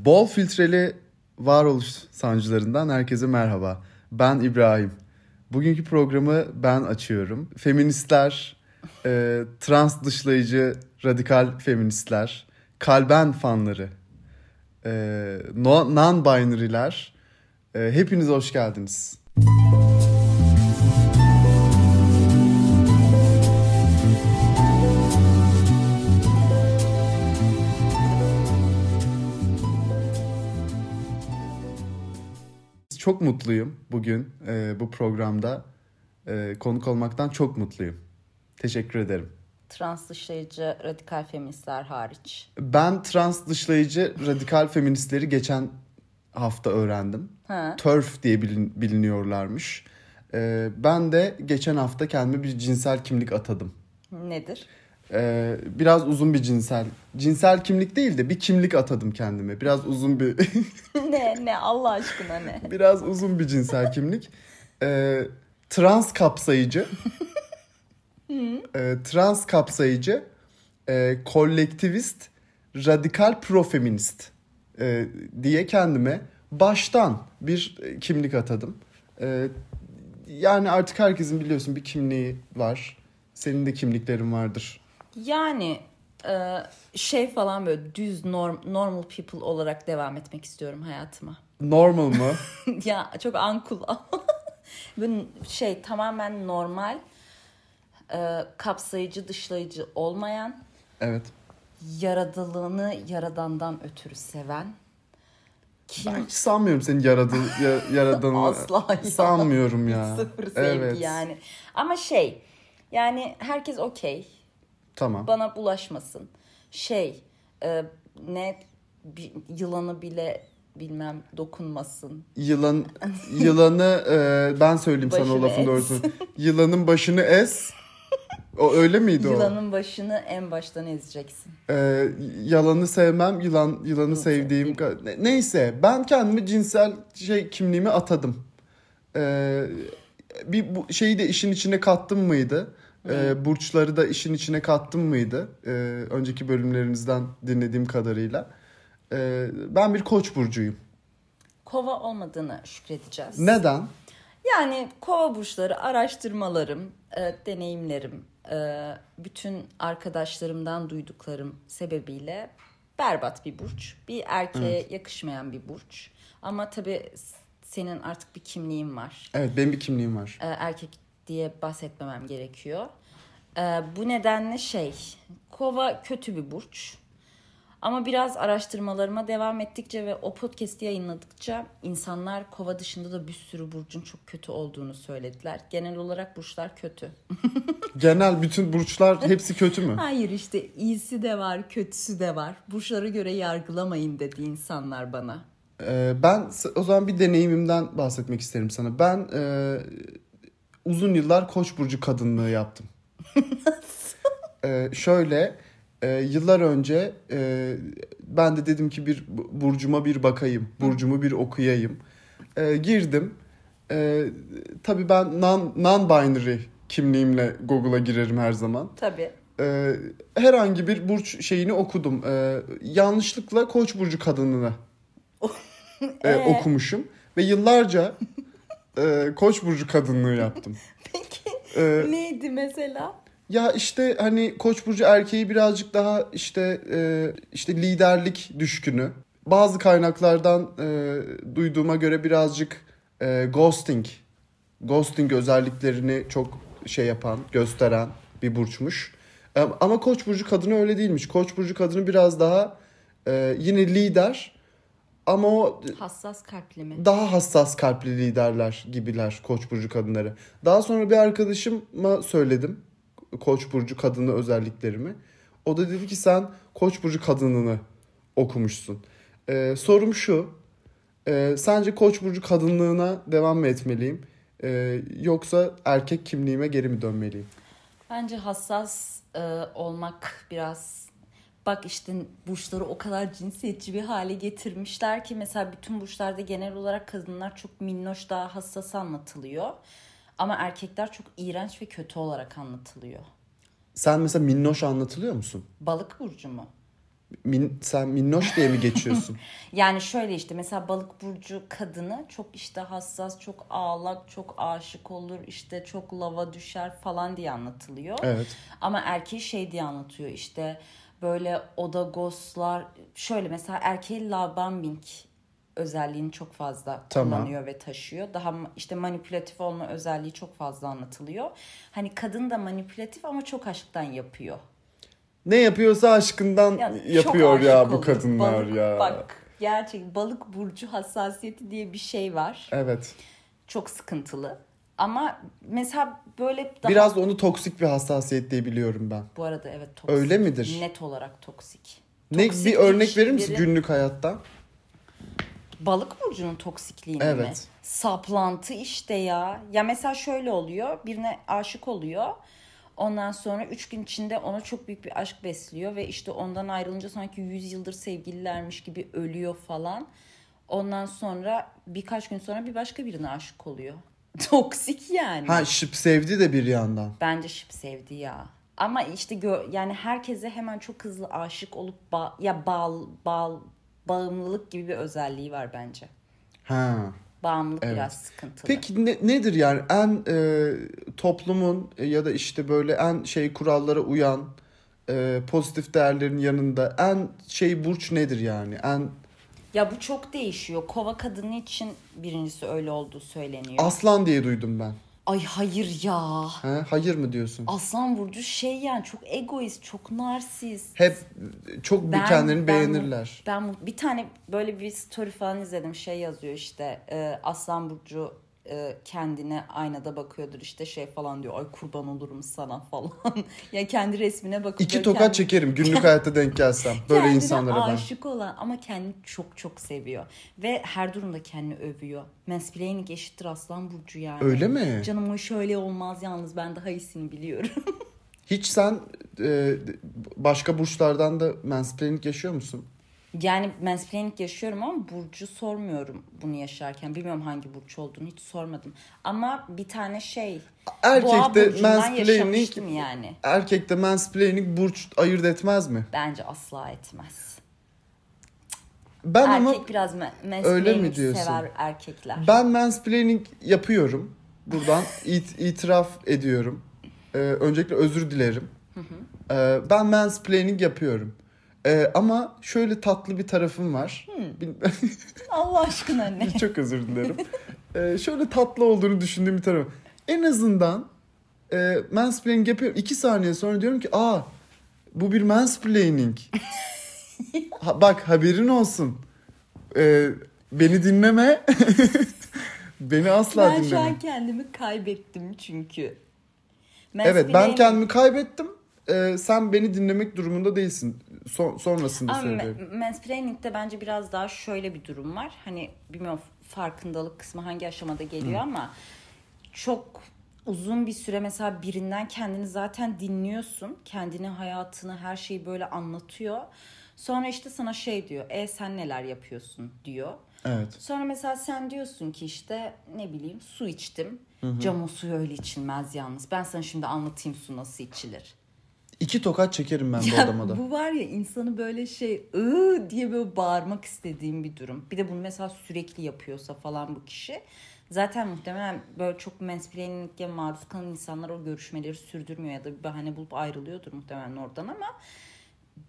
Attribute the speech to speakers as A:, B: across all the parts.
A: Bol filtreli varoluş sancılarından herkese merhaba. Ben İbrahim. Bugünkü programı ben açıyorum. Feministler, e, trans dışlayıcı radikal feministler, kalben fanları, e, no- non-binary'ler. E, hepiniz hoş geldiniz. Çok mutluyum bugün e, bu programda. E, konuk olmaktan çok mutluyum. Teşekkür ederim.
B: Trans dışlayıcı radikal feministler hariç.
A: Ben trans dışlayıcı radikal feministleri geçen hafta öğrendim.
B: Ha.
A: Törf diye bilin- biliniyorlarmış. Ee, ben de geçen hafta kendime bir cinsel kimlik atadım.
B: Nedir?
A: Ee, biraz uzun bir cinsel, cinsel kimlik değil de bir kimlik atadım kendime. Biraz uzun bir,
B: ne ne Allah aşkına ne?
A: biraz uzun bir cinsel kimlik. Ee, trans kapsayıcı, Ee, trans kapsayıcı, e, kolektivist, radikal profeminist e, diye kendime baştan bir e, kimlik atadım. E, yani artık herkesin biliyorsun bir kimliği var. Senin de kimliklerin vardır.
B: Yani e, şey falan böyle düz norm, normal people olarak devam etmek istiyorum hayatıma.
A: Normal mı?
B: ya çok ankul. böyle şey tamamen normal, e, kapsayıcı dışlayıcı olmayan,
A: evet.
B: yaradılığını yaradandan ötürü seven. Kim?
A: Ben hiç sanmıyorum senin yaradan, ya, yaradanı.
B: Asla ya.
A: Sanmıyorum ya.
B: Sıfır sevgi yani. Ama şey yani herkes okey.
A: Tamam.
B: bana bulaşmasın. Şey e, ne bi- yılanı bile bilmem dokunmasın.
A: Yılan yılanı e, ben söyleyeyim sana o
B: Başını
A: lafın
B: es.
A: doğrusunu. Yılanın başını es. O öyle miydi o?
B: Yılanın başını en baştan ezeceksin.
A: Ee, yalanı sevmem, yılan yılanı sevdiğim. ka- Ne- Neyse, ben kendimi cinsel şey kimliğimi atadım. Ee, bir bu şeyi de işin içine kattım mıydı? Ee, burçları da işin içine kattım mıydı? Ee, önceki bölümlerinizden dinlediğim kadarıyla. Ee, ben bir koç burcuyum.
B: Kova olmadığını şükredeceğiz.
A: Neden?
B: Yani kova burçları araştırmalarım, e, deneyimlerim, e, bütün arkadaşlarımdan duyduklarım sebebiyle berbat bir burç. Bir erkeğe yakışmayan bir burç. Ama tabii s- senin artık bir kimliğin var.
A: Evet, benim bir kimliğim var.
B: e, erkek diye bahsetmemem gerekiyor. E, bu nedenle şey, kova kötü bir burç. Ama biraz araştırmalarıma devam ettikçe ve o podcast'i yayınladıkça insanlar kova dışında da bir sürü burcun çok kötü olduğunu söylediler. Genel olarak burçlar kötü.
A: Genel bütün burçlar hepsi kötü mü?
B: Hayır işte iyisi de var, kötüsü de var. Burçlara göre yargılamayın dedi insanlar bana.
A: Ee, ben s- o zaman bir deneyimimden bahsetmek isterim sana. Ben e, uzun yıllar koç burcu kadınlığı yaptım. Ee, şöyle e, yıllar önce e, ben de dedim ki bir bu- burcuma bir bakayım, burcumu bir okuyayım. Ee, girdim. Ee, tabii ben non, non-binary kimliğimle Google'a girerim her zaman.
B: Tabii.
A: Ee, herhangi bir burç şeyini okudum. Ee, yanlışlıkla Koç burcu kadınını e,
B: Ee?
A: okumuşum ve yıllarca e, Koç burcu kadınlığı yaptım.
B: Peki
A: Ee,
B: neydi mesela?
A: ya işte hani Koç burcu erkeği birazcık daha işte e, işte liderlik düşkünü. Bazı kaynaklardan e, duyduğuma göre birazcık e, ghosting, ghosting özelliklerini çok şey yapan, gösteren bir burçmuş. E, Ama Koç burcu kadını öyle değilmiş. Koç burcu kadını biraz daha e, yine lider ama o
B: Hassas kalpli mi?
A: daha hassas kalpli liderler gibiler koç burcu kadınları. Daha sonra bir arkadaşıma söyledim koç burcu kadını özelliklerimi. O da dedi ki sen koç burcu kadınını okumuşsun. Ee, sorum şu. e, sence koç burcu kadınlığına devam mı etmeliyim? Ee, yoksa erkek kimliğime geri mi dönmeliyim?
B: Bence hassas e, olmak biraz bak işte burçları o kadar cinsiyetçi bir hale getirmişler ki mesela bütün burçlarda genel olarak kadınlar çok minnoş daha hassas anlatılıyor. Ama erkekler çok iğrenç ve kötü olarak anlatılıyor.
A: Sen mesela minnoş anlatılıyor musun?
B: Balık burcu mu?
A: Min- sen minnoş diye mi geçiyorsun?
B: Yani şöyle işte mesela balık burcu kadını çok işte hassas, çok ağlak, çok aşık olur, işte çok lava düşer falan diye anlatılıyor.
A: Evet.
B: Ama erkeği şey diye anlatıyor işte böyle odagoslar şöyle mesela erkeği lavabombing özelliğini çok fazla
A: Tamam.
B: kullanıyor ve taşıyor. Daha ma- işte manipülatif olma özelliği çok fazla anlatılıyor. Hani kadın da manipülatif ama çok aşktan yapıyor.
A: ne yapıyorsa aşkından
B: Ya çok
A: yapıyor ya
B: aşık
A: bu
B: olduk.
A: kadınlar
B: Balık-
A: ya.
B: Bak gerçek balık burcu hassasiyeti diye bir şey var.
A: Evet.
B: Çok sıkıntılı. Ama mesela böyle daha
A: Biraz da onu toksik bir hassasiyet diye biliyorum ben.
B: bu arada evet toksik.
A: Öyle midir?
B: Net olarak toksik.
A: ne
B: Toksik
A: bir örnek verir misin
B: ilişkilerin-
A: günlük hayatta?
B: Balık burcunun toksikliğini mi?
A: Evet.
B: Saplantı işte ya. Ya mesela şöyle oluyor. Birine aşık oluyor. Ondan sonra üç gün içinde ona çok büyük bir aşk besliyor ve işte ondan ayrılınca sanki 100 yıldır sevgililermiş gibi ölüyor falan. Ondan sonra birkaç gün sonra bir başka birine aşık oluyor. Toksik yani.
A: Ha şıp sevdi de bir yandan.
B: Bence şıp sevdi ya. Ama işte gö- yani herkese hemen çok hızlı aşık olup ba- ya bağ- bağ- bağımlılık gibi bir özelliği var bence.
A: Ha.
B: Bağımlılık biraz sıkıntılı.
A: Peki ne- nedir yani en e, toplumun e, ya da işte böyle en şey kurallara uyan e, pozitif değerlerin yanında en şey burç nedir yani? En
B: Ya bu çok değişiyor. Kova kadını için birincisi öyle olduğu söyleniyor.
A: aslan diye duydum ben.
B: Ay hayır ya.
A: Ha, hayır mı diyorsun?
B: Aslan burcu şey yani çok egoist, çok narsist.
A: Hep çok bir kendilerini beğenirler.
B: Ben, ben bir tane böyle bir story falan izledim. Şey yazıyor işte e, Aslan Burcu e, kendine aynada bakıyordur işte şey falan diyor. Ay kurban olurum sana falan. ya kendi resmine bakıyor.
A: İki tokat
B: kendi-
A: çekerim günlük hayatta denk gelsem böyle
B: kendine
A: insanlara ben.
B: aşık olan ama kendini çok çok seviyor. Ve her durumda kendini övüyor. Mansplaining eşittir Aslan Burcu yani.
A: Öyle mi?
B: Canım o şöyle olmaz yalnız ben daha iyisini biliyorum.
A: Hiç sen e, başka burçlardan da mansplaining yaşıyor musun?
B: yani mansplaining yaşıyorum ama Burcu sormuyorum bunu yaşarken. Bilmiyorum hangi Burç olduğunu hiç sormadım. Ama bir tane şey. Boğa
A: Erkekte
B: Burcu'ndan
A: mansplaining-
B: yaşamıştım yani.
A: Erkekte mansplaining burç ayırt etmez mi?
B: Bence asla etmez.
A: Ben ama
B: Erkek biraz ma- mansplaining
A: diyorsun?
B: sever erkekler.
A: ben mansplaining yapıyorum. Buradan it- itiraf ediyorum. Ee, öncelikle özür dilerim. Ee, ben mansplaining yapıyorum. Ee, ama şöyle tatlı bir tarafım var.
B: Hmm.
A: Bil-
B: Allah aşkına ne?
A: Çok özür dilerim. Ee, şöyle tatlı olduğunu düşündüğüm bir tarafı. En azından e, mansplaining yapıyorum. İki saniye sonra diyorum ki aa bu bir mansplaining. ha, bak haberin olsun. Ee, beni dinleme. beni asla
B: ben şu
A: dinleme.
B: an kendimi kaybettim çünkü.
A: Evet ben
B: Mansplaining-
A: kendimi kaybettim. Ee, sen beni dinlemek durumunda değilsin. Son- sonrasında
B: Ama
A: söylüyorum.
B: ma- mansplaining'de bence biraz daha şöyle bir durum var. Hani bilmiyorum farkındalık kısmı hangi aşamada geliyor ama çok uzun bir süre mesela birinden kendini zaten dinliyorsun. Kendini, hayatını, her şeyi böyle anlatıyor. Sonra işte sana şey diyor. E sen neler yapıyorsun diyor.
A: Evet.
B: Sonra mesela sen diyorsun ki işte ne bileyim su içtim. Camon suyu öyle içilmez yalnız. Ben sana şimdi anlatayım su nasıl içilir.
A: İki tokat çekerim ben bu
B: Ya
A: adama da.
B: bu var ya insanı böyle şey ıı diye böyle bağırmak istediğim bir durum. Bir de bunu mesela sürekli yapıyorsa falan bu kişi. Zaten muhtemelen böyle çok mansplaining'e maruz kalan insanlar o görüşmeleri sürdürmüyor ya da bir bahane bulup ayrılıyordur muhtemelen oradan ama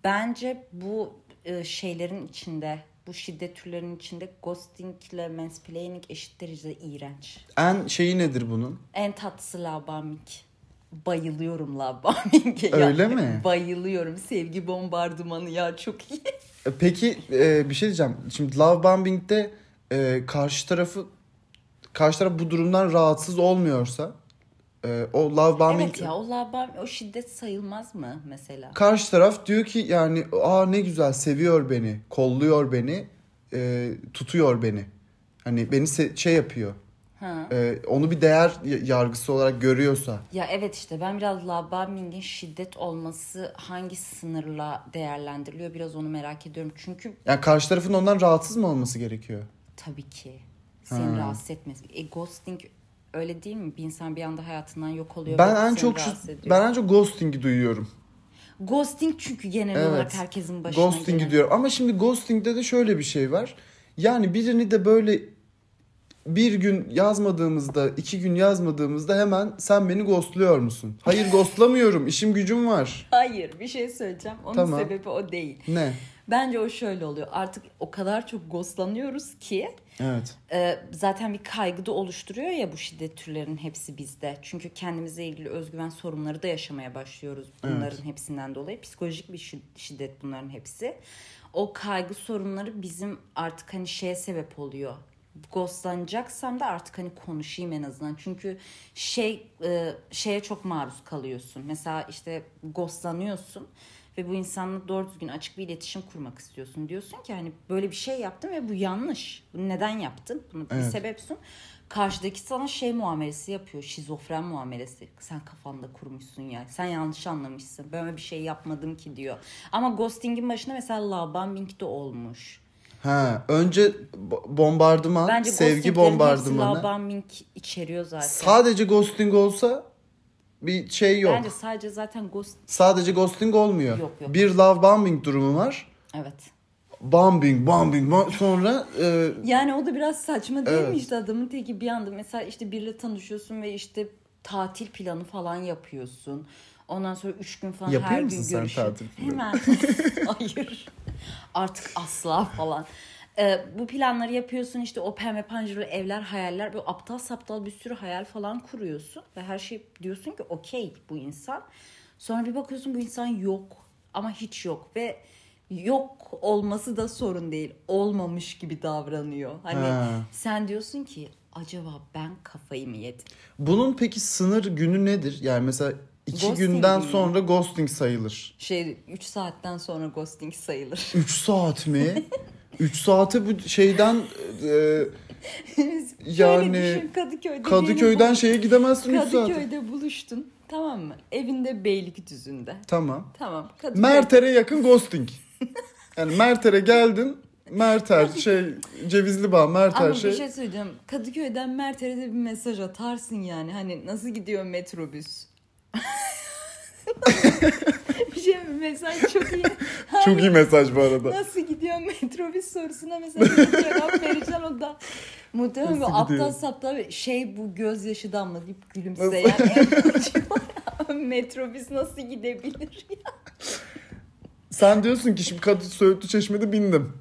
B: bence bu e, şeylerin içinde bu şiddet türlerinin içinde ghosting ile mansplaining eşit derecede iğrenç.
A: En şeyi nedir bunun?
B: En tatlısı labamik. Bayılıyorum labamike. ya.
A: Öyle mi?
B: Bayılıyorum. Sevgi bombardımanı ya çok iyi.
A: E, Peki e, bir şey diyeceğim. Şimdi love bombing'de e, karşı tarafı karşı taraf bu durumdan rahatsız olmuyorsa e, o love bombing
B: evet ya o labam o şiddet sayılmaz mı mesela?
A: karşı taraf diyor ki yani aa ne güzel seviyor beni, kolluyor beni, e, tutuyor beni. Hani beni se- şey yapıyor.
B: Ha.
A: E, onu bir değer y- yargısı olarak görüyorsa.
B: Ya evet işte ben biraz labamingin şiddet olması hangi sınırla değerlendiriliyor biraz onu merak ediyorum. Çünkü
A: Yani karşı tarafın ondan rahatsız mı olması gerekiyor?
B: tabii ki seni
A: Ha.
B: rahatsız etmez. E, ghosting öyle değil mi? Bir insan bir anda hayatından yok oluyor. ve
A: Ben en
B: seni
A: çok şu-
B: rahatsız ediyor.
A: ben en çok ghosting'i duyuyorum.
B: Ghosting çünkü genel
A: Evet.
B: olarak herkesin başına
A: Ghosting
B: gelen.
A: diyorum. Ama şimdi ghosting'de de şöyle bir şey var. Yani birini de böyle bir gün yazmadığımızda, iki gün yazmadığımızda hemen sen beni ghostluyor musun? Hayır ghostlamıyorum. İşim gücüm var.
B: Hayır bir şey söyleyeceğim. Onun
A: Tamam.
B: sebebi o değil.
A: Ne?
B: Bence o şöyle oluyor. Artık o kadar çok ghostlanıyoruz ki
A: Evet.
B: e, zaten bir kaygı da oluşturuyor ya bu şiddet türlerinin hepsi bizde. Çünkü kendimize ilgili özgüven sorunları da yaşamaya başlıyoruz bunların hepsinden dolayı. Psikolojik bir şi- şiddet bunların hepsi. O kaygı sorunları bizim artık hani şeye sebep oluyor. Ghostlanacaksam da artık hani konuşayım en azından. Çünkü şey e, şeye çok maruz kalıyorsun. Mesela işte ghostlanıyorsun ve bu insanla doğru düzgün açık bir iletişim kurmak istiyorsun. Diyorsun ki hani böyle bir şey yaptım ve bu yanlış. Bunu neden yaptın? Bunu bir
A: Evet.
B: sebepsin. Karşıdaki sana şey muamelesi yapıyor. Şizofren muamelesi. Sen kafanda kurmuşsun ya. Sen yanlış anlamışsın. Ben öyle bir şey yapmadım ki diyor. Ama ghosting'in başına mesela labambing de olmuş.
A: Ha, önce bo- bombardıman,
B: Bence
A: sevgi
B: ghostinglerin
A: bombardımanı.
B: hepsi labambing içeriyor zaten.
A: Sadece ghosting olsa bir şey yok.
B: Bence sadece zaten ghost...
A: Sadece ghosting olmuyor.
B: Yok, yok.
A: Bir love bombing durumu var.
B: Evet.
A: Bombing, bombing, bom- sonra e,
B: Yani o da biraz saçma değil mi
A: Evet.
B: işte adamın teki bir anda mesela işte biriyle tanışıyorsun ve işte tatil planı falan yapıyorsun. Ondan sonra üç gün falan
A: Yapıyor
B: her
A: musun
B: gün
A: sen
B: görüşüyor.
A: tatil planı?
B: Hemen. Hayır. Artık asla falan. Ee, bu planları yapıyorsun işte o pembe panjurlu evler hayaller böyle aptal saptal bir sürü hayal falan kuruyorsun ve her şey diyorsun ki okey bu insan. Sonra bir bakıyorsun bu insan yok ama hiç yok ve yok olması da sorun değil olmamış gibi davranıyor. Hani
A: Ha.
B: sen diyorsun ki acaba ben kafayı mı yedim?
A: Bunun peki sınır günü nedir? Yani mesela iki
B: Ghosting
A: günden
B: günü.
A: sonra ghosting sayılır.
B: Şey 3 saatten sonra ghosting sayılır.
A: 3 saat mi? 3 saate bu şeyden e, Yani
B: Şöyle düşün, Kadıköy'de birini
A: Kadıköy'den şeye gidemezsin 3 saat.
B: Kadıköy'de buluştun. Tamam mı? Evinde Beylikdüzü'nde.
A: Tamam.
B: Tamam. Kadıköy.
A: Merter'e yakın ghosting. Yani Merter'e geldin. Merter şey Cevizli Bağ Merter
B: Ama
A: şey.
B: bir şey söyleyeceğim. Kadıköy'den Mert'e de bir mesaj atarsın yani. Hani nasıl gidiyor metrobüs? bir şey mi? Mesaj çok iyi. Hani
A: Çok iyi mesaj bu arada.
B: Nasıl gidiyor metrobüs sorusuna mesela bir cevap vereceksin o da. Muhtemelen bu
A: Nasıl gidiyor?
B: aptal saptal bir şey bu gözyaşı damlayıp gülümseyen en ucu var. metrobüs nasıl gidebilir ya?
A: Sen diyorsun ki şimdi Kadı Söğütlü Çeşme'de bindim.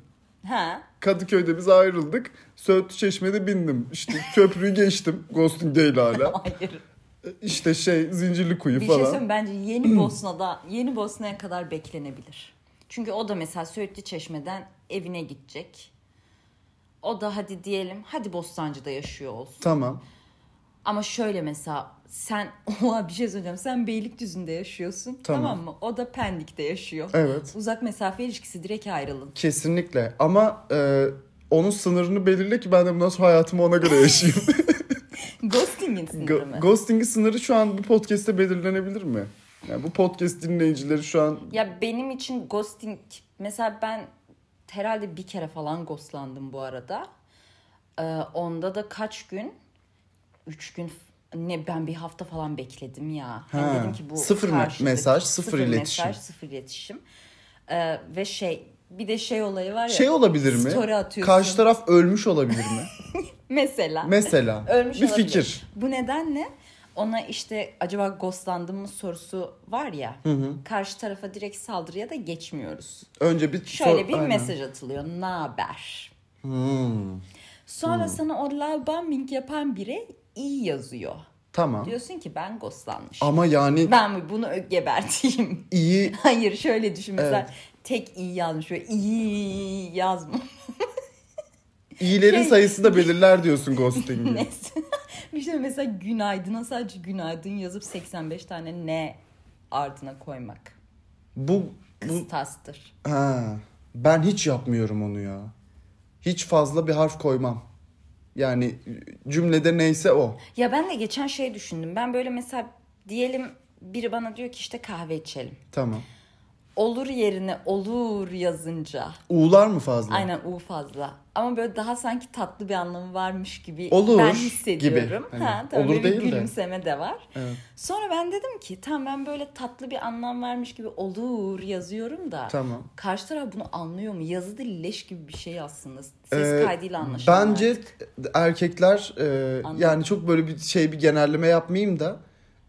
B: Ha?
A: Kadıköy'de biz ayrıldık. Söğütlü Çeşme'de bindim. İşte köprüyü geçtim. Ghosting değil hala.
B: Hayır.
A: İşte şey Zincirli Kuyu
B: Bir şey
A: falan.
B: söyleyeyim mi? bence Yeni Bosna'da Yeni Bosna'ya kadar beklenebilir. Çünkü o da mesela Söğütlü Çeşme'den evine gidecek. O da hadi diyelim hadi Bostancı'da yaşıyor olsun.
A: Tamam.
B: Ama şöyle mesela sen oha bir şey söyleyeceğim. Sen Beylikdüzü'nde yaşıyorsun
A: Tamam.
B: tamam, mı? O da Pendik'te yaşıyor.
A: Evet.
B: Uzak mesafe ilişkisi direkt ayrılın.
A: Kesinlikle. Ama e, onun sınırını belirle ki ben de bundan sonra hayatımı ona göre yaşayayım.
B: Ghosting'in sınırı mı?
A: Go- Ghosting'in sınırı şu an bu podcast'te belirlenebilir mi? Yani bu podcast dinleyicileri şu an
B: Ya benim için ghosting mesela ben herhalde bir kere falan ghostlandım bu arada. Ee, onda da kaç gün? Üç gün f- ne ben bir hafta falan bekledim ya. Hani
A: Ha,
B: dedim ki bu
A: sıfır me-
B: karşıdaki-
A: mesaj, sıfır iletişim.
B: mesaj, sıfır iletişim. Ee, ve şey bir de şey olayı var ya.
A: şey olabilir mi?
B: Story atıyorsun.
A: Karşı taraf ölmüş olabilir mi?
B: Mesela.
A: Mesela.
B: Ölmüş
A: bir
B: olabilir.
A: fikir.
B: Bu nedenle ona işte acaba ghostlandım mı sorusu var ya. Karşı tarafa direkt saldırıya da geçmiyoruz.
A: Önce bir
B: Şöyle
A: sor-
B: bir
A: Aynen. Hmm.
B: mesaj atılıyor. Ne haber? Sonra sana o love bombing yapan biri iyi yazıyor.
A: Tamam.
B: Diyorsun ki ben ghostlanmışım.
A: Ama yani
B: Ben bunu ö- geberteyim.
A: iyi
B: Hayır şöyle düşün mesela
A: Evet.
B: tek iyi yazmış böyle iyi yazmış.
A: iyilerin
B: Şey-
A: sayısı da belirler diyorsun ghosting'i.
B: Neyse. bir şey mesela günaydına sadece günaydın yazıp 85 tane ne ardına koymak.
A: bu bu
B: Kıstastır.
A: Ha, ben hiç yapmıyorum onu ya. Hiç fazla bir harf koymam. Yani cümlede neyse o.
B: Ya ben de geçen şey düşündüm. Ben böyle mesela diyelim biri bana diyor ki işte kahve içelim.
A: Tamam.
B: olur yerine olur yazınca.
A: U'lar mı fazla?
B: Aynen U fazla. Ama böyle daha sanki tatlı bir anlamı varmış gibi
A: Olur
B: ben hissediyorum.
A: gibi.
B: Ha,
A: Hani
B: tabii
A: olur
B: bir
A: değil de.
B: gülümseme de, var.
A: Evet.
B: Sonra ben dedim ki tamam ben böyle tatlı bir anlam varmış gibi olur yazıyorum da.
A: Tamam.
B: Karşı taraf bunu anlıyor mu? Yazı dili leş gibi bir şey aslında. Ses
A: Ee,
B: kaydıyla anlaşılıyor.
A: Bence erkekler e,
B: Anladım.
A: yani çok böyle bir şey bir genelleme yapmayayım da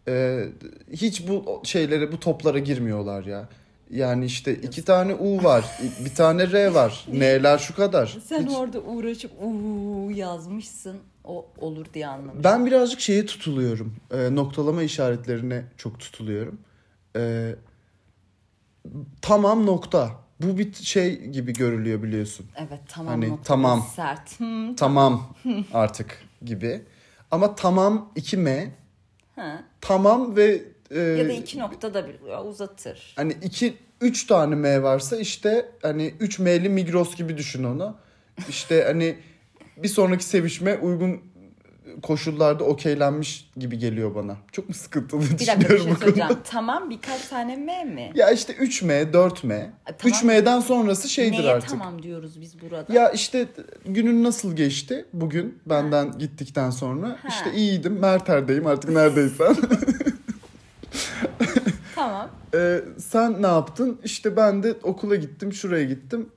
A: e, hiç bu şeylere bu toplara girmiyorlar ya. Yani işte iki tane U var, bir tane R var. N'ler şu kadar.
B: Sen
A: Hiç-
B: orada uğraşıp uuu yazmışsın. O olur diye anlamış.
A: Ben birazcık şeye tutuluyorum. E, noktalama işaretlerine çok tutuluyorum. E, tamam nokta. Bu bir şey gibi görülüyor biliyorsun.
B: Evet tamam
A: Hani,
B: noktası
A: tamam.
B: sert. Hmm,
A: Tamam artık gibi. Ama tamam 2M. Ee,
B: ha.
A: Tamam ve e,
B: Ya da iki nokta da bir uzatır.
A: hani iki üç tane M varsa işte hani 3 M'li Migros gibi düşün onu. İşte hani bir sonraki sevişme uygun koşullarda okeylenmiş gibi geliyor bana. Çok mu sıkıntılı
B: Bir dakika bir
A: düşünüyorum
B: şey
A: bu konuda.
B: söyleyeceğim. Tamam birkaç tane M mi?
A: Ya işte 3M, 4M.
B: E, tamam.
A: 3M'den sonrası şeydir
B: Neye
A: artık.
B: tamam diyoruz biz burada?
A: Ya işte günün nasıl geçti bugün benden gittikten sonra? İşte iyiydim, Merter'deyim artık neredeysen.
B: Tamam.
A: Ee, sen ne yaptın? İşte ben de okula gittim, şuraya gittim.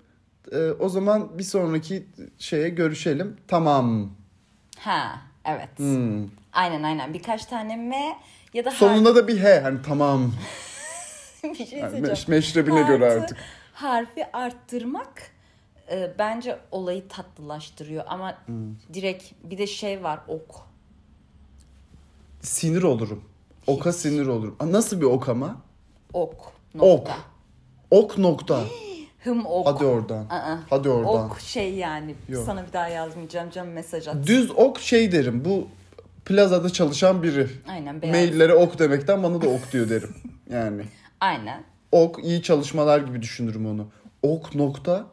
A: Ee, o zaman bir sonraki şeye görüşelim. Tamam.
B: Ha evet.
A: Hmm.
B: Aynen aynen birkaç tane M ya da har-
A: Sonunda da bir he hani tamam.
B: bir şey
A: Yani
B: söyleyeceğim.
A: meş- meşrebine göre
B: Artı
A: artık.
B: Harfi arttırmak e, bence olayı tatlılaştırıyor ama
A: Hmm.
B: direkt bir de şey var ok.
A: Sinir olurum. Oka sinir olurum. Aa, Nasıl bir ok ama?
B: Ok.
A: Ok.
B: Nokta.
A: Ok nokta.
B: Hım ok.
A: Hadi oradan.
B: Aa.
A: Hadi oradan.
B: Ok şey yani.
A: Yok.
B: Sana bir daha yazmayacağım canım mesaj at.
A: Düz ok şey derim. Bu plazada çalışan biri.
B: Aynen beyaz.
A: Maillere ok demekten bana da ok diyor derim. Yani.
B: Aynen.
A: Ok iyi çalışmalar gibi düşünürüm onu. Ok nokta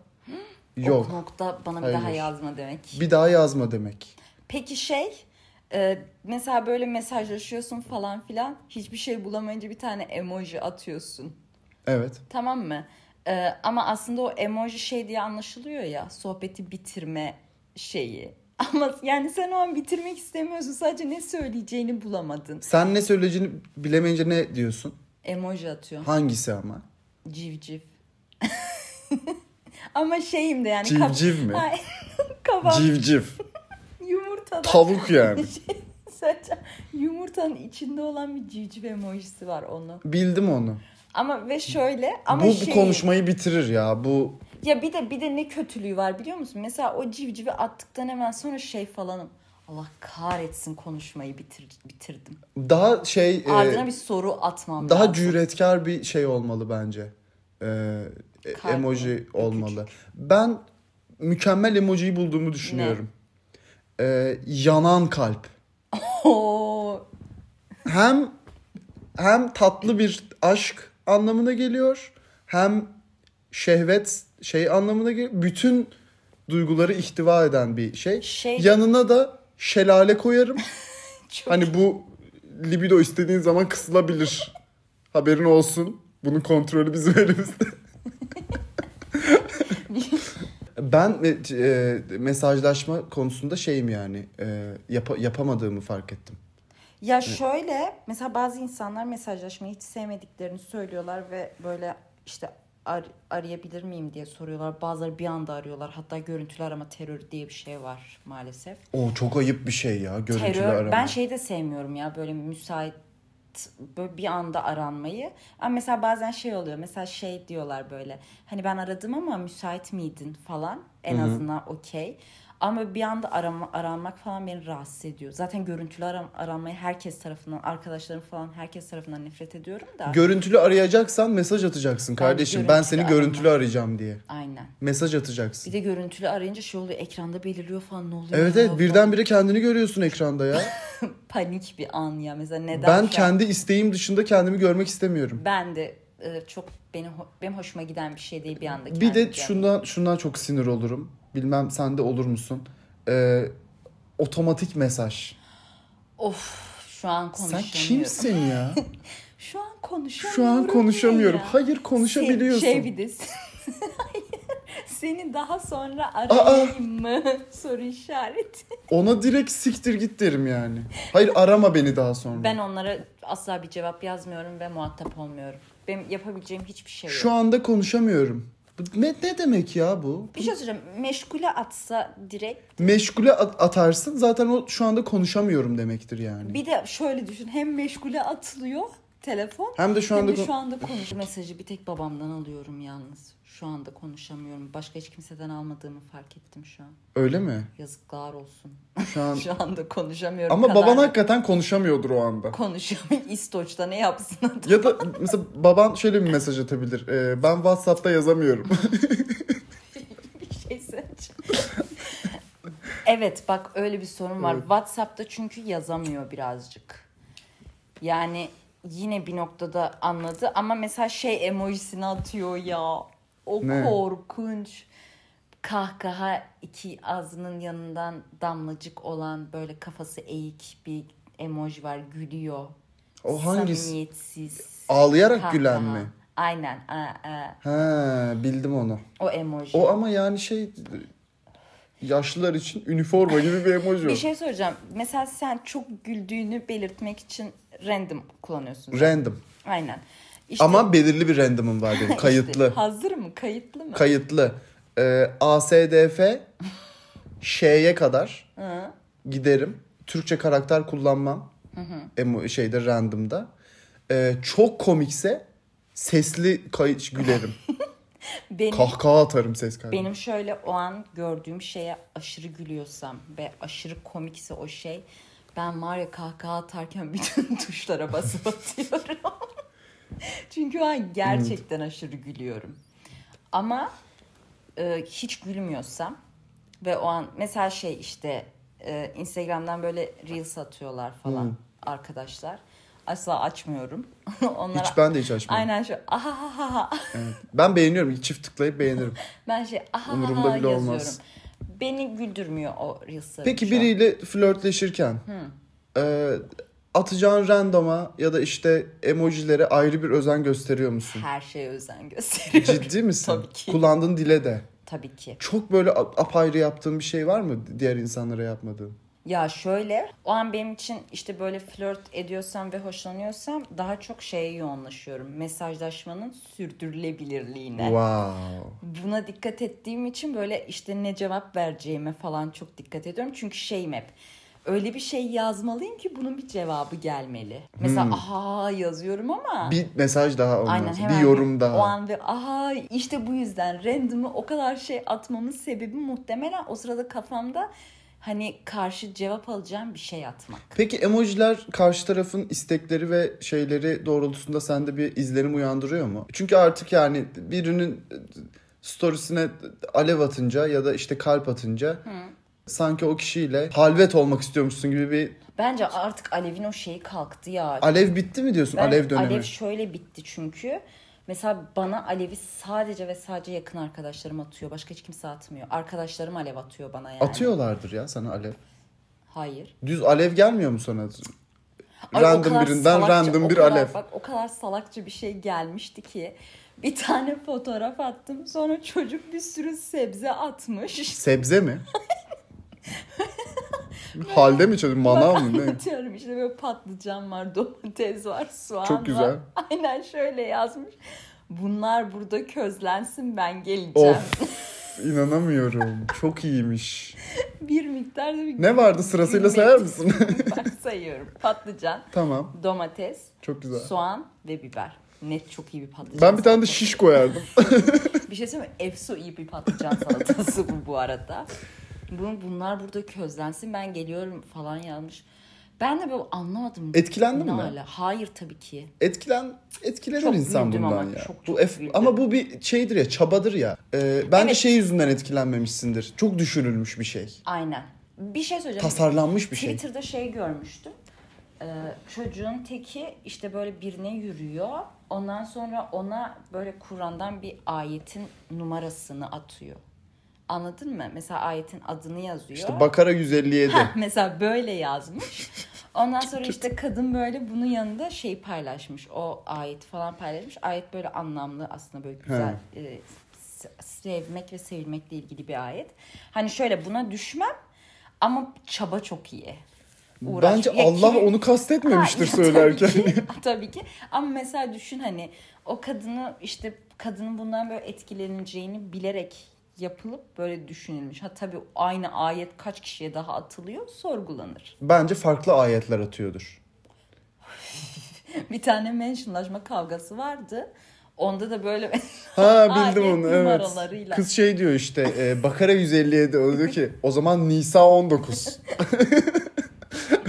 A: yok.
B: Ok nokta bana bir daha
A: Hayır.
B: yazma demek.
A: Bir daha yazma demek.
B: Peki şey e, mesela böyle mesajlaşıyorsun falan filan hiçbir şey bulamayınca bir tane emoji atıyorsun.
A: Evet.
B: Tamam mı? E, ama aslında o emoji şey diye anlaşılıyor ya sohbeti bitirme şeyi. Ama yani sen o an bitirmek istemiyorsun sadece ne söyleyeceğini bulamadın.
A: Sen ne söyleyeceğini bilemeyince ne diyorsun?
B: Emoji atıyorsun.
A: Hangisi ama?
B: Civciv. ama şeyim de yani. kaf-
A: Civciv mi?
B: Ay, Kafam
A: Civciv.
B: yumurtadan.
A: Tavuk yani.
B: Şey, sadece yumurtanın içinde olan bir civciv emojisi var onu.
A: Bildim onu.
B: Ama ve şöyle ama
A: bu, bu
B: şey
A: konuşmayı bitirir ya. Bu
B: ya bir de bir de ne kötülüğü var biliyor musun? Mesela o civcivi attıktan hemen sonra şey falanım. Allah kahretsin konuşmayı bitir, bitirdim.
A: daha şey e,
B: Ardına bir şey soru atmam
A: daha
B: lazım.
A: cüretkar bir şey olmalı bence. Ee, e,
B: Kalp mi?
A: emoji
B: Öpücük.
A: olmalı. Ben mükemmel emojiyi bulduğumu düşünüyorum. Ee, yanan kalp.
B: Oo,
A: hem hem tatlı bir aşk anlamına geliyor hem şehvet şey anlamına geliyor. Bütün duyguları ihtiva eden bir şey.
B: Şey-
A: Yanına da şelale koyarım.
B: çok
A: hani bu libido istediğin zaman kısılabilir. Haberin olsun. Bunun kontrolü bizim elimizde. ben e, e, mesajlaşma konusunda şeyim yani e, yapa- yapamadığımı fark ettim.
B: Ya şöyle mesela bazı insanlar mesajlaşmayı hiç sevmediklerini söylüyorlar ve böyle işte ar- arayabilir miyim diye soruyorlar. Bazıları bir anda arıyorlar. Hatta görüntülü arama terörü diye bir şey var maalesef.
A: O çok ayıp bir şey ya görüntülü
B: Terör
A: arama.
B: ben şey- şeyi de sevmiyorum ya böyle müsait böyle bir anda aranmayı. Ama mesela bazen şey oluyor. Mesela şey diyorlar böyle. Hani ben aradım ama müsait miydin falan. En azından okey. Ama bir anda arama, aranmak falan beni rahatsız ediyor. Zaten görüntülü aram, aranmayı herkes tarafından, arkadaşlarım falan herkes tarafından nefret ediyorum da.
A: Görüntülü arayacaksan mesaj atacaksın kardeşim. Ben
B: görüntülü
A: seni
B: aramam.
A: görüntülü arayacağım diye.
B: Aynen.
A: Mesaj
B: Bir
A: atacaksın.
B: de görüntülü arayınca şey oluyor. Ekranda belirliyor falan ne oluyor?
A: Evet
B: ya
A: evet
B: falan.
A: birdenbire kendini görüyorsun ekranda ya.
B: Panik bir an ya. Mesela neden?
A: ben
B: şu an-
A: kendi isteğim dışında kendimi görmek istemiyorum.
B: Ben de e, çok beni ho- benim hoşuma giden bir şey değil bir anda.
A: Bir de
B: kendimce.
A: şundan şundan çok sinir olurum. Bilmem sen de olur musun? Ee, otomatik mesaj.
B: Of şu an
A: Sen
B: konuşamıyorum.
A: kimsin ya?
B: Şu an konuşamıyorum.
A: Şu an konuşamıyorum.
B: ya.
A: Hayır konuşabiliyorsun.
B: Sen- Şey bir de Hayır, Seni daha sonra
A: Aa!
B: arayayım mı? Soru işareti.
A: Ona direkt siktir git derim yani. Hayır arama beni daha sonra.
B: Ben onlara asla bir cevap yazmıyorum ve muhatap olmuyorum. Benim yapabileceğim hiçbir şey yok.
A: Şu anda konuşamıyorum. Bu Ne, ne demek ya bu?
B: Bir şey söyleyeceğim. Meşgule atsa direkt.
A: Meşgule at- atarsın zaten o şu anda konuşamıyorum demektir yani.
B: Bir de şöyle düşün. Hem meşgule atılıyor telefon.
A: Hem de şu anda
B: Hem de
A: kon-
B: şu anda konuş. Mesajı bir tek babamdan alıyorum yalnız. Şu anda konuşamıyorum. Başka hiç kimseden almadığımı fark ettim şu an.
A: Öyle mi?
B: Yazıklar olsun.
A: Şu an
B: şu anda konuşamıyorum.
A: ama
B: Kadar-
A: baban hakikaten konuşamıyordur o anda.
B: konuşuyor. İstoç'ta ne yapsın adam?
A: Ya da mesela baban şöyle bir mesaj atabilir. Ee, ben WhatsApp'ta yazamıyorum.
B: bir şey seç. evet bak öyle bir sorun var.
A: Evet.
B: WhatsApp'ta çünkü yazamıyor birazcık. Yani yine bir noktada anladı ama mesela şey emojisini atıyor ya. O
A: Ne?
B: korkunç. Kahkaha iki ağzının yanından damlacık olan böyle kafası eğik bir emoji var gülüyor.
A: O hangisi?
B: Samimiyetsiz.
A: Ağlayarak
B: kahkaha.
A: gülen mi?
B: Aynen. Aa, aa.
A: Ha bildim onu.
B: O emoji.
A: O ama yani şey yaşlılar için üniforma gibi bir emoji. o.
B: Bir şey soracağım. Mesela sen çok güldüğünü belirtmek için random kullanıyorsun.
A: Random.
B: Aynen. İşte,
A: Ama belirli bir random'ım var benim.
B: işte
A: Kayıtlı.
B: hazır mı? Kayıtlı mı?
A: Kayıtlı. Ee, ASDF şeye kadar
B: Hı.
A: giderim. Türkçe karakter kullanmam. Emo- şeyde random'da. Ee, çok komikse sesli kay- gülerim.
B: benim,
A: Kahkaha atarım ses kaydı.
B: benim şöyle o an gördüğüm şeye aşırı gülüyorsam ve aşırı komikse o şey ben var ya kahkaha atarken bütün tuşlara basıp atıyorum. Çünkü o an gerçekten aşırı gülüyorum. Ama e, hiç gülmüyorsam ve o an mesela şey işte e, Instagram'dan böyle reels atıyorlar falan
A: Hmm.
B: arkadaşlar. Asla açmıyorum. Onlara
A: Hiç ben de hiç açmam.
B: aynen şu ahahaha
A: Evet. Ben beğeniyorum. Çift tıklayıp beğenirim.
B: ben şey
A: Umurumda
B: ahahaha
A: bile
B: yazıyorum.
A: olmaz.
B: Beni güldürmüyor o reels'ları.
A: Peki
B: şu an.
A: biriyle flörtleşirken e, atacağın randoma ya da işte emojilere ayrı bir özen gösteriyor musun?
B: her şeye özen gösteriyorum.
A: Ciddi misin?
B: Tabii ki.
A: Kullandığın dile de.
B: Tabii ki.
A: Çok böyle a- apayrı yaptığın bir şey var mı diğer insanlara yapmadığın?
B: Ya şöyle o an benim için işte böyle flört ediyorsam ve hoşlanıyorsam daha çok şeye yoğunlaşıyorum. Mesajlaşmanın sürdürülebilirliğine.
A: Wow.
B: Buna dikkat ettiğim için böyle işte ne cevap vereceğime falan çok dikkat ediyorum. Çünkü şeyim hep öyle bir şey yazmalıyım ki bunun bir cevabı gelmeli. Mesela
A: Hmm.
B: aha yazıyorum ama
A: Bir mesaj daha olmaz.
B: Aynen hemen
A: bir yorum daha.
B: O an ve aha işte bu yüzden random'ı o kadar şey atmamın sebebi muhtemelen o sırada kafamda hani karşı cevap alacağım bir şey atmak.
A: Peki emojiler karşı tarafın istekleri ve şeyleri doğrultusunda sende bir izlenim uyandırıyor mu? Çünkü artık yani birinin e, storiesine alev atınca ya da işte kalp atınca sanki o kişiyle halvet olmak istiyormuşsun gibi bir
B: Bence artık Alev'in o şeyi kalktı ya.
A: alev bitti mi diyorsun
B: Ben-
A: alev dönemi?
B: Alev şöyle bitti çünkü. Mesela bana Alev'i sadece ve sadece yakın arkadaşlarım atıyor. Başka hiç kimse atmıyor. Arkadaşlarım Alev atıyor bana yani.
A: Atıyorlardır ya sana alev.
B: Hayır.
A: Düz alev gelmiyor mu sana?
B: Ay, o
A: random
B: kadar
A: birinden
B: salakça-
A: random
B: o
A: bir
B: kadar-
A: alev.
B: Bak o kadar salakça bir şey gelmişti ki bir tane fotoğraf attım. Sonra çocuk bir sürü sebze atmış.
A: Sebze mi? Halde mi çocuk? Manav
B: Bak,
A: mı? Ne?
B: Anlatıyorum işte böyle patlıcan var, domates var, soğan
A: Çok
B: var.
A: güzel.
B: Aynen şöyle yazmış. Bunlar burada közlensin ben geleceğim.
A: Of inanamıyorum. Çok iyiymiş.
B: Bir miktar da bir
A: Ne vardı sırasıyla
B: gülmek.
A: sayar mısın?
B: Bak sayıyorum. Patlıcan,
A: tamam.
B: domates,
A: Çok güzel.
B: soğan ve biber. Net çok iyi bir patlıcan.
A: Ben bir tane de şiş koyardım.
B: Bir şey söyleyeyim mi? Efso iyi bir patlıcan salatası bu bu arada. Bunu, bunlar burada közlensin ben geliyorum falan yazmış. Ben de böyle anlamadım.
A: Etkilendin
B: Ne
A: mi?
B: hala? Hayır tabii ki.
A: Etkilen etkilenir
B: Çok
A: insan
B: güldüm
A: bundan
B: ama,
A: ya.
B: çok
A: bu
B: çok
A: ef-
B: güldüm.
A: ama bu bir şeydir ya, çabadır ya. Ee, ben de
B: Evet.
A: şey yüzünden etkilenmemişsindir. Çok düşünülmüş bir şey.
B: Aynen. Bir şey söyleyeceğim.
A: Tasarlanmış bir şey.
B: Twitter'da şey görmüştüm. Ee, çocuğun teki işte böyle birine yürüyor. Ondan sonra ona böyle Kur'an'dan bir ayetin numarasını atıyor. Anladın mı? Mesela ayetin adını yazıyor.
A: İşte Bakara 157.
B: Heh, mesela böyle yazmış. Ondan sonra işte kadın böyle bunun yanında şey paylaşmış. O ayet falan paylaşmış. Ayet böyle anlamlı aslında böyle güzel e, s- sevmek ve sevilmekle ilgili bir ayet. Hani şöyle buna düşmem ama çaba çok iyi. Uğraş-
A: Bence
B: Ya
A: Allah
B: kibir-
A: onu kastetmemiştir
B: Ha, ya
A: söylerken.
B: Tabii ki, tabii ki. Ama mesela düşün hani o kadını işte kadının bundan böyle etkileneceğini bilerek yapılıp böyle düşünülmüş. Ha tabii aynı ayet kaç kişiye daha atılıyor sorgulanır.
A: Bence farklı ayetler atıyordur.
B: Bir tane mentionlaşma kavgası vardı. Onda da böyle
A: Ha bildim
B: Ayet
A: onu evet.
B: numaralarıyla.
A: Kız şey diyor işte e, Bakara 157 o diyor ki o zaman Nisa 19.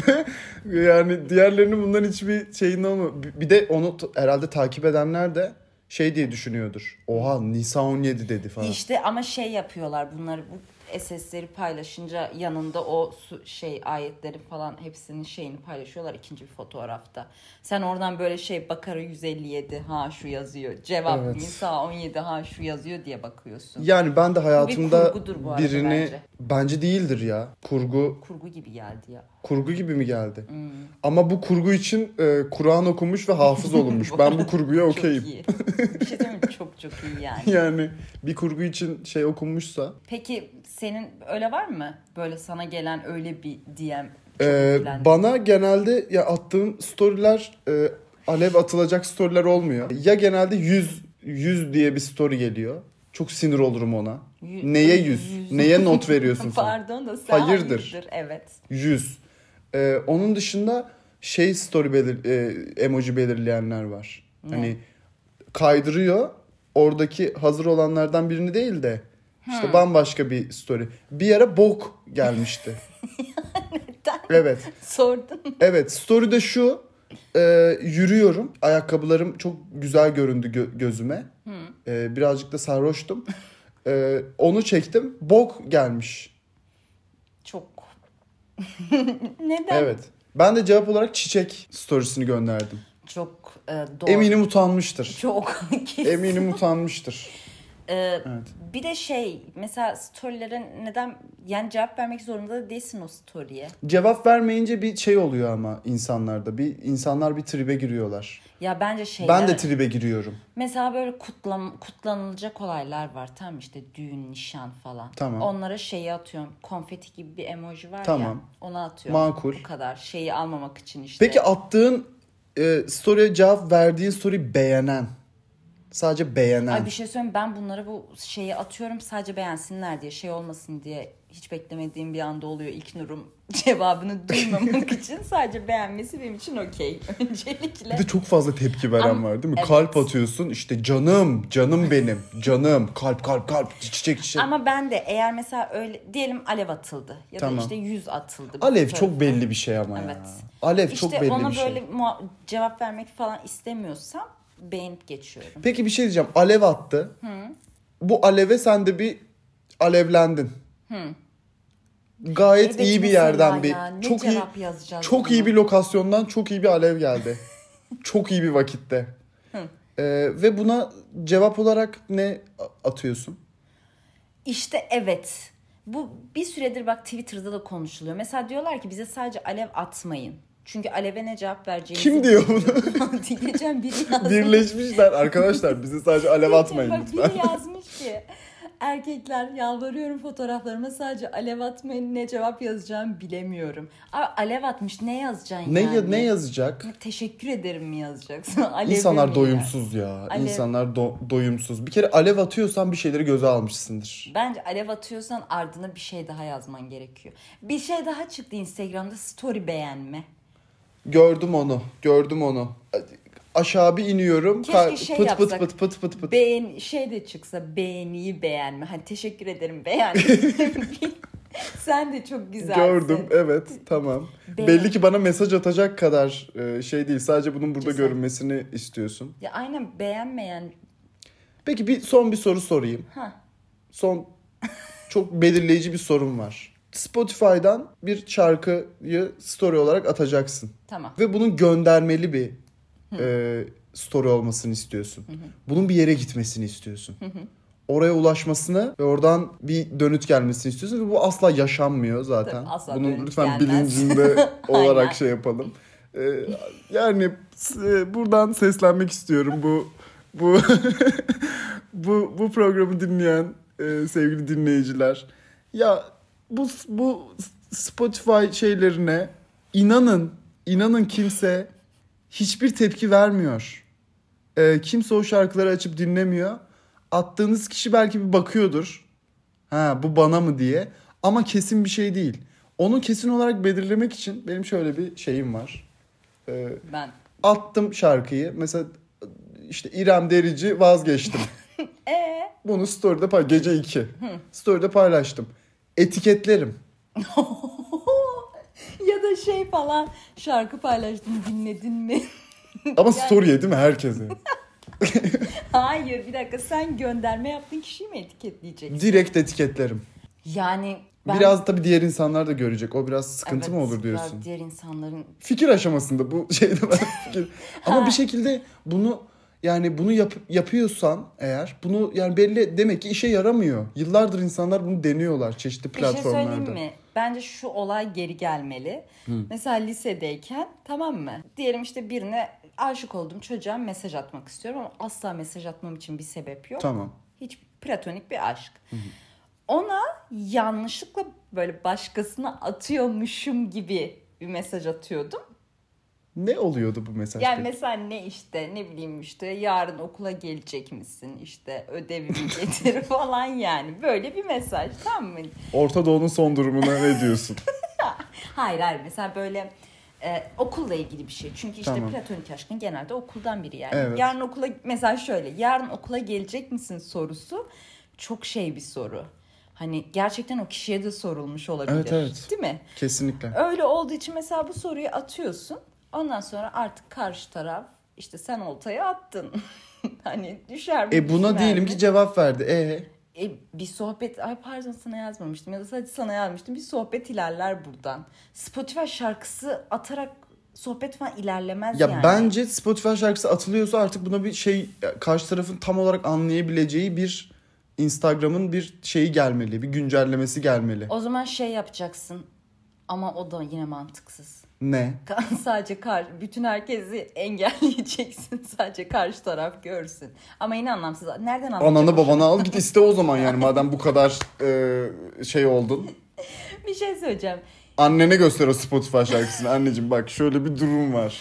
A: yani diğerlerinin bundan hiçbir şeyin olma. Bir de onu t- herhalde takip edenler de şey diye düşünüyordur. Oha Nisa 17 dedi falan.
B: işte ama şey yapıyorlar bunları bu SS'leri paylaşınca yanında o su- şey ayetleri falan hepsinin şeyini paylaşıyorlar ikinci bir fotoğrafta. Sen oradan böyle şey Bakara 157 ha şu yazıyor. Cevap
A: Evet.
B: Nisa 17 ha şu yazıyor diye bakıyorsun.
A: Yani ben de hayatımda
B: kurgudur bu arada
A: birini
B: bence.
A: bence. değildir ya. Kurgu
B: Kurgu gibi geldi ya.
A: kurgu gibi mi geldi?
B: Hmm.
A: Ama bu kurgu için e, Kur'an okumuş ve hafız olunmuş. ben bu kurguya
B: Çok
A: okeyim.
B: iyi. bir şey diyeyim mi? Çok çok iyi yani.
A: Yani bir kurgu için şey okunmuşsa
B: Peki senin öyle var mı? Böyle sana gelen öyle bir DM çok
A: Ee,
B: etkilendim.
A: bana genelde ya attığım storyler e, alev atılacak storyler olmuyor. Ya genelde 100 100 diye bir story geliyor. Çok sinir olurum ona.
B: Yüz-
A: Neye 100?
B: yüz.
A: Neye not veriyorsun sen?
B: Pardon da sen hayırdır.
A: Hayırdır.
B: Evet.
A: 100. Ee, onun dışında şey story belir e, emoji belirleyenler var. Hani kaydırıyor. Oradaki hazır olanlardan birini değil de işte bambaşka bir story. Bir ara bok gelmişti.
B: Neden
A: evet.
B: sordun?
A: Evet story de şu. e, yürüyorum. Ayakkabılarım çok güzel göründü gö- gözüme. E, birazcık da sarhoştum. E, onu çektim. Bok gelmiş.
B: Çok. Neden?
A: Evet. Ben de cevap olarak çiçek storiesini gönderdim.
B: Çok e, doğru.
A: Eminim utanmıştır.
B: Çok kesin.
A: Eminim utanmıştır.
B: E,
A: Evet.
B: Bir de şey mesela storylere neden yani cevap vermek zorunda da değilsin o story'e.
A: Cevap vermeyince bir şey oluyor ama insanlarda. Bir insanlar bir tribe giriyorlar.
B: Ya bence şeyler.
A: Ben de tribe giriyorum.
B: Mesela böyle kutlam, kutlanılacak olaylar var tamam işte düğün, nişan falan.
A: Tamam.
B: Onlara şeyi atıyorum. Konfeti gibi bir emoji var ya.
A: Tamam.
B: Onu atıyorum.
A: Makul.
B: Bu kadar. Şeyi almamak için işte.
A: Peki attığın e, story'e cevap verdiğin story beğenen. Sadece beğenen.
B: Ay bir şey söyleyeyim ben bunlara bu şeyi atıyorum sadece beğensinler diye şey olmasın diye hiç beklemediğim bir anda oluyor ilk nurum cevabını duymamak için sadece beğenmesi benim için okey öncelikle.
A: Bir de çok fazla tepki veren
B: Ama-
A: var değil mi?
B: Evet.
A: Kalp atıyorsun işte canım, canım benim, canım, kalp kalp kalp, çiçek çiçek.
B: Ama ben de eğer mesela öyle diyelim alev atıldı ya
A: Tamam.
B: da işte yüz atıldı. bir
A: Alev
B: fotoğraf-
A: çok belli bir şey ama
B: Evet.
A: ya. Alev
B: İşte
A: çok belli
B: ona
A: bir
B: böyle
A: şey.
B: muha- cevap vermek falan istemiyorsam beğenip geçiyorum.
A: Peki bir şey diyeceğim. Alev attı. Bu aleve sen de bir alevlendin. Gayet
B: Evet,
A: iyi bir
B: mesela
A: yerden bir
B: ya, ne
A: çok iyi
B: cevap yazacağız
A: çok iyi
B: buna?
A: bir lokasyondan çok iyi bir alev geldi. çok iyi bir vakitte. Ee, ve buna cevap olarak ne atıyorsun?
B: İşte evet. Bu bir süredir bak Twitter'da da konuşuluyor. Mesela diyorlar ki bize sadece alev atmayın. Çünkü aleve ne cevap vereceğimizi...
A: Kim diyor bunu?
B: Diyeceğim biri yazmış.
A: Birleşmişler arkadaşlar. Bizi sadece alev atmayın
B: Bak
A: lütfen.
B: biri yazmış ki erkekler yalvarıyorum fotoğraflarıma sadece alev atmayın ne cevap yazacağım bilemiyorum. Abi alev atmış ne yazacaksın
A: Ne ya-
B: yani?
A: ne yazacak?
B: Teşekkür ederim mi yazacaksın? Alevi
A: İnsanlar
B: mi
A: doyumsuz ya.
B: Alev.
A: İnsanlar do- doyumsuz. Bir kere alev atıyorsan bir şeyleri göze almışsındır.
B: ya? Bence alev atıyorsan ardına bir şey daha yazman gerekiyor. Bir şey daha çıktı Instagram'da story beğenme.
A: Gördüm onu. Gördüm onu. Aşağı bir iniyorum.
B: Keşke
A: Ka-
B: şey
A: pıt, pıt
B: yapsak.
A: pıt pıt pıt pıt.
B: Beğen şey de çıksa beğeniyi beğenme. Hani teşekkür ederim beğen. Sen de çok güzelsin.
A: Gördüm evet tamam.
B: Beğen-
A: Belli ki bana mesaj atacak kadar e, şey değil. Sadece bunun burada
B: Güzel.
A: görünmesini istiyorsun.
B: Ya aynen beğenmeyen.
A: Peki bir son bir soru sorayım.
B: Ha.
A: Son çok belirleyici bir sorum var. Spotify'dan bir şarkıyı story olarak atacaksın.
B: Tamam.
A: Ve bunun göndermeli bir e, story olmasını istiyorsun. Bunun bir yere gitmesini istiyorsun. oraya ulaşmasını ve oradan bir dönüt gelmesini istiyorsun ve bu asla yaşanmıyor zaten.
B: Tabii, asla
A: Bunun
B: dönüt
A: lütfen
B: gelmez.
A: bilincinde
B: Aynen.
A: olarak şey yapalım. Ee, yani e, buradan seslenmek istiyorum bu bu bu bu programı dinleyen e, sevgili dinleyiciler. Ya bu bu Spotify şeylerine inanın inanın kimse hiçbir tepki vermiyor. E, kimse o şarkıları açıp dinlemiyor. Attığınız kişi belki bir bakıyordur. Ha bu bana mı diye. Ama kesin bir şey değil. Onu kesin olarak belirlemek için benim şöyle bir şeyim var. E,
B: Ben.
A: attım şarkıyı. Mesela işte İrem Derici vazgeçtim.
B: Ee?
A: Bunu story'de pay gece 2. story'de paylaştım. Etiketlerim.
B: ya da şey falan şarkı paylaştım dinledin mi?
A: Ama story'e değil mi herkese?
B: Hayır bir dakika sen gönderme yaptığın kişiyi mi etiketleyeceksin?
A: Direkt etiketlerim.
B: Yani ben...
A: Biraz tabii diğer insanlar da görecek. O biraz sıkıntı
B: Evet,
A: mı olur
B: biraz
A: diyorsun?
B: diğer insanların
A: Fikir aşamasında bu şeyde ben fikir. Ama bir şekilde bunu yani bunu yap- yapıyorsan eğer bunu yani belli demek ki işe yaramıyor. Yıllardır insanlar bunu deniyorlar çeşitli
B: Bir şey
A: platformlarda.
B: söyleyeyim mi? Bence şu olay geri gelmeli. Mesela lisedeyken tamam mı? Diyelim işte birine aşık oldum çocuğa mesaj atmak istiyorum ama asla mesaj atmam için bir sebep yok.
A: Tamam.
B: Hiç platonik bir aşk. Ona yanlışlıkla böyle başkasına atıyormuşum gibi bir mesaj atıyordum.
A: Ne oluyordu bu mesaj?
B: Yani
A: peki?
B: mesela ne işte ne bileyim işte yarın okula gelecek misin işte ödevimi getir falan yani böyle bir mesaj tamam mı?
A: Orta Doğu'nun son durumuna ne diyorsun?
B: Hayır hayır mesela böyle e, okulla ilgili bir şey. Çünkü işte
A: Tamam.
B: platonik aşkın genelde okuldan biri yani.
A: Evet.
B: Yarın okula mesela şöyle yarın okula gelecek misin sorusu çok şey bir soru. Hani gerçekten o kişiye de sorulmuş olabilir.
A: Evet, evet.
B: Değil mi?
A: Kesinlikle.
B: Öyle olduğu için mesela bu soruyu atıyorsun. Ondan sonra artık karşı taraf işte sen oltayı attın. hani düşer mi?
A: E buna
B: düşmez
A: diyelim
B: mi?
A: ki cevap verdi. E
B: E, bir sohbet ay pardon sana yazmamıştım ya da sadece sana yazmıştım bir sohbet ilerler buradan. Spotify şarkısı atarak sohbet falan ilerlemez
A: ya
B: yani.
A: bence Spotify şarkısı atılıyorsa artık buna bir şey karşı tarafın tam olarak anlayabileceği bir Instagram'ın bir şeyi gelmeli, bir güncellemesi gelmeli.
B: O zaman şey yapacaksın ama o da yine mantıksız.
A: Ne?
B: Ka- sadece kar bütün herkesi engelleyeceksin sadece karşı taraf görsün. Ama yine anlamsız. Nereden anlayacak?
A: Ananı
B: o
A: babanı al git iste o zaman yani madem bu kadar e, şey oldun.
B: şarkı? Bir şey söyleyeceğim.
A: Annene göster o Spotify şarkısını. Anneciğim bak şöyle bir durum var.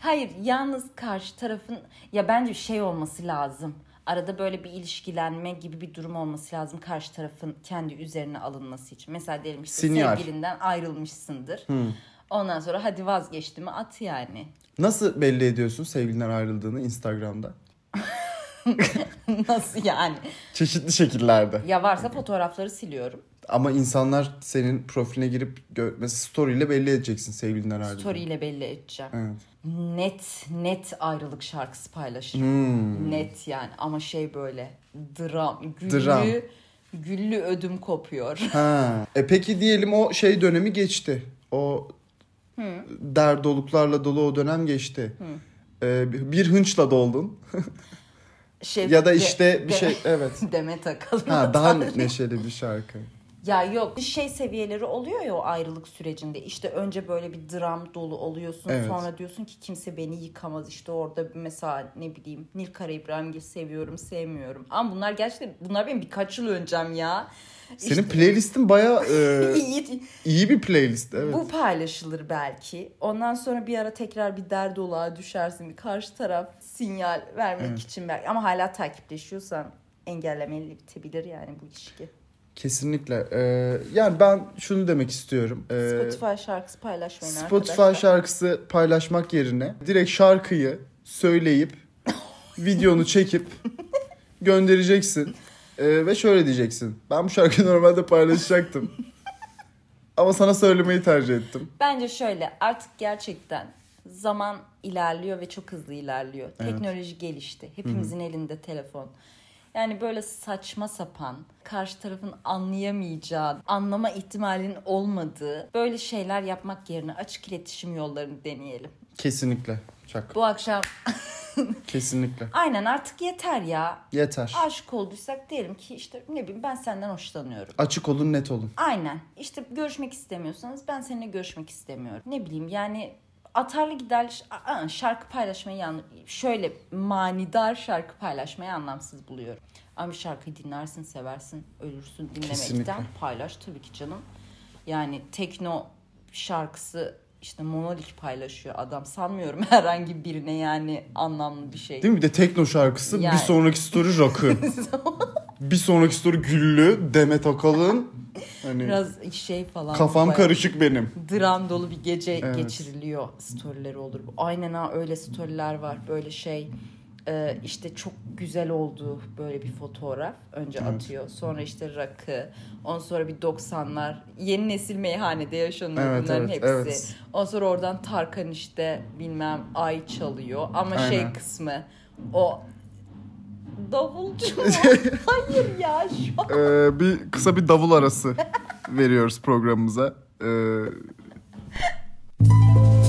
B: Hayır yalnız karşı tarafın ya bence şey olması lazım. Arada böyle bir ilişkilenme gibi bir durum olması lazım karşı tarafın kendi üzerine alınması için. Mesela diyelim işte
A: Sinyal.
B: sevgilinden ayrılmışsındır. Ondan sonra hadi vazgeçtim mi at yani.
A: Nasıl belli ediyorsun sevgilinden ayrıldığını Instagram'da?
B: Nasıl yani?
A: Çeşitli şekillerde.
B: Ya varsa fotoğrafları siliyorum.
A: Ama insanlar senin profiline girip gör, mesela story ile belli edeceksin sevgilinden ayrıldığını.
B: Story ile belli edeceğim.
A: Evet.
B: Net net ayrılık şarkısı paylaşırım.
A: Hmm.
B: Net yani ama şey böyle dram, güllü,
A: Dram.
B: güllü ödüm kopuyor.
A: Ha. E peki diyelim o şey dönemi geçti. O der doluklarla dolu o dönem geçti. E, bir hınçla doldun.
B: Şey,
A: ya da
B: de-
A: işte bir
B: de-
A: şey evet.
B: Demet Akalın.
A: Ha daha ne- neşeli bir şarkı.
B: Ya yok şey seviyeleri oluyor ya o ayrılık sürecinde. İşte önce böyle bir dram dolu oluyorsun.
A: Evet.
B: Sonra diyorsun ki kimse beni yıkamaz. İşte orada mesela ne bileyim Nil Kara İbrahimgil seviyorum sevmiyorum. Ama bunlar gerçekten bunlar benim birkaç yıl öncem ya.
A: Senin playlistin baya
B: İyi-
A: iyi bir playlist evet.
B: Bu paylaşılır belki. Ondan sonra bir ara tekrar bir dert olağa düşersin. Bir karşı taraf sinyal vermek için belki. Ama hala takipleşiyorsan engellemeli bitebilir yani bu ilişki.
A: Kesinlikle. E, yani ben şunu demek istiyorum. E,
B: Spotify şarkısı paylaşmayın
A: Spotify
B: arkadaşlar.
A: şarkısı paylaşmak yerine direkt şarkıyı söyleyip videonu çekip göndereceksin Ee, ve şöyle diyeceksin. Ben bu şarkıyı normalde paylaşacaktım. Ama sana söylemeyi tercih ettim.
B: Bence şöyle artık gerçekten zaman ilerliyor ve çok hızlı ilerliyor. Teknoloji gelişti. Hepimizin elinde telefon. Yani böyle saçma sapan, karşı tarafın anlayamayacağı, anlama ihtimalinin olmadığı böyle şeyler yapmak yerine açık iletişim yollarını deneyelim.
A: Kesinlikle. Çak.
B: Bu akşam
A: Kesinlikle.
B: Aynen artık yeter ya.
A: Yeter.
B: Aşık olduysak diyelim ki işte ne bileyim ben senden hoşlanıyorum.
A: Açık olun, net olun.
B: Aynen işte görüşmek istemiyorsanız ben seninle görüşmek istemiyorum. Ne bileyim yani atarlı giderli ş- Aa, şarkı paylaşmayı yan- şöyle manidar şarkı paylaşmayı anlamsız buluyorum. Ama bir şarkıyı dinlersin seversin ölürsün dinlemekten
A: Kesinlikle.
B: paylaş tabii ki canım. Yani tekno şarkısı işte Monolik paylaşıyor adam sanmıyorum herhangi birine yani anlamlı bir şey.
A: Değil mi? Bir de tekno şarkısı.
B: Yani.
A: Bir sonraki story rock'ı. bir sonraki story güllü. Demet Akalın. Hani
B: Biraz şey falan.
A: kafam
B: bayağı-
A: karışık benim.
B: dram dolu bir gece
A: Evet.
B: geçiriliyor storyleri olur. bu. Aynen ha öyle storyler var böyle şey e, işte çok güzel oldu böyle bir fotoğraf önce
A: Evet.
B: atıyor sonra işte rakı ondan sonra bir 90'lar yeni nesil meyhanede yaşanıyor
A: Evet,
B: bunların
A: evet,
B: hepsi.
A: evet.
B: Ondan sonra oradan Tarkan işte bilmem ay çalıyor ama şey
A: Aynen.
B: kısmı o davulcu mu? Hayır ya şu an
A: Ee, bir kısa bir davul arası veriyoruz programımıza. Ee,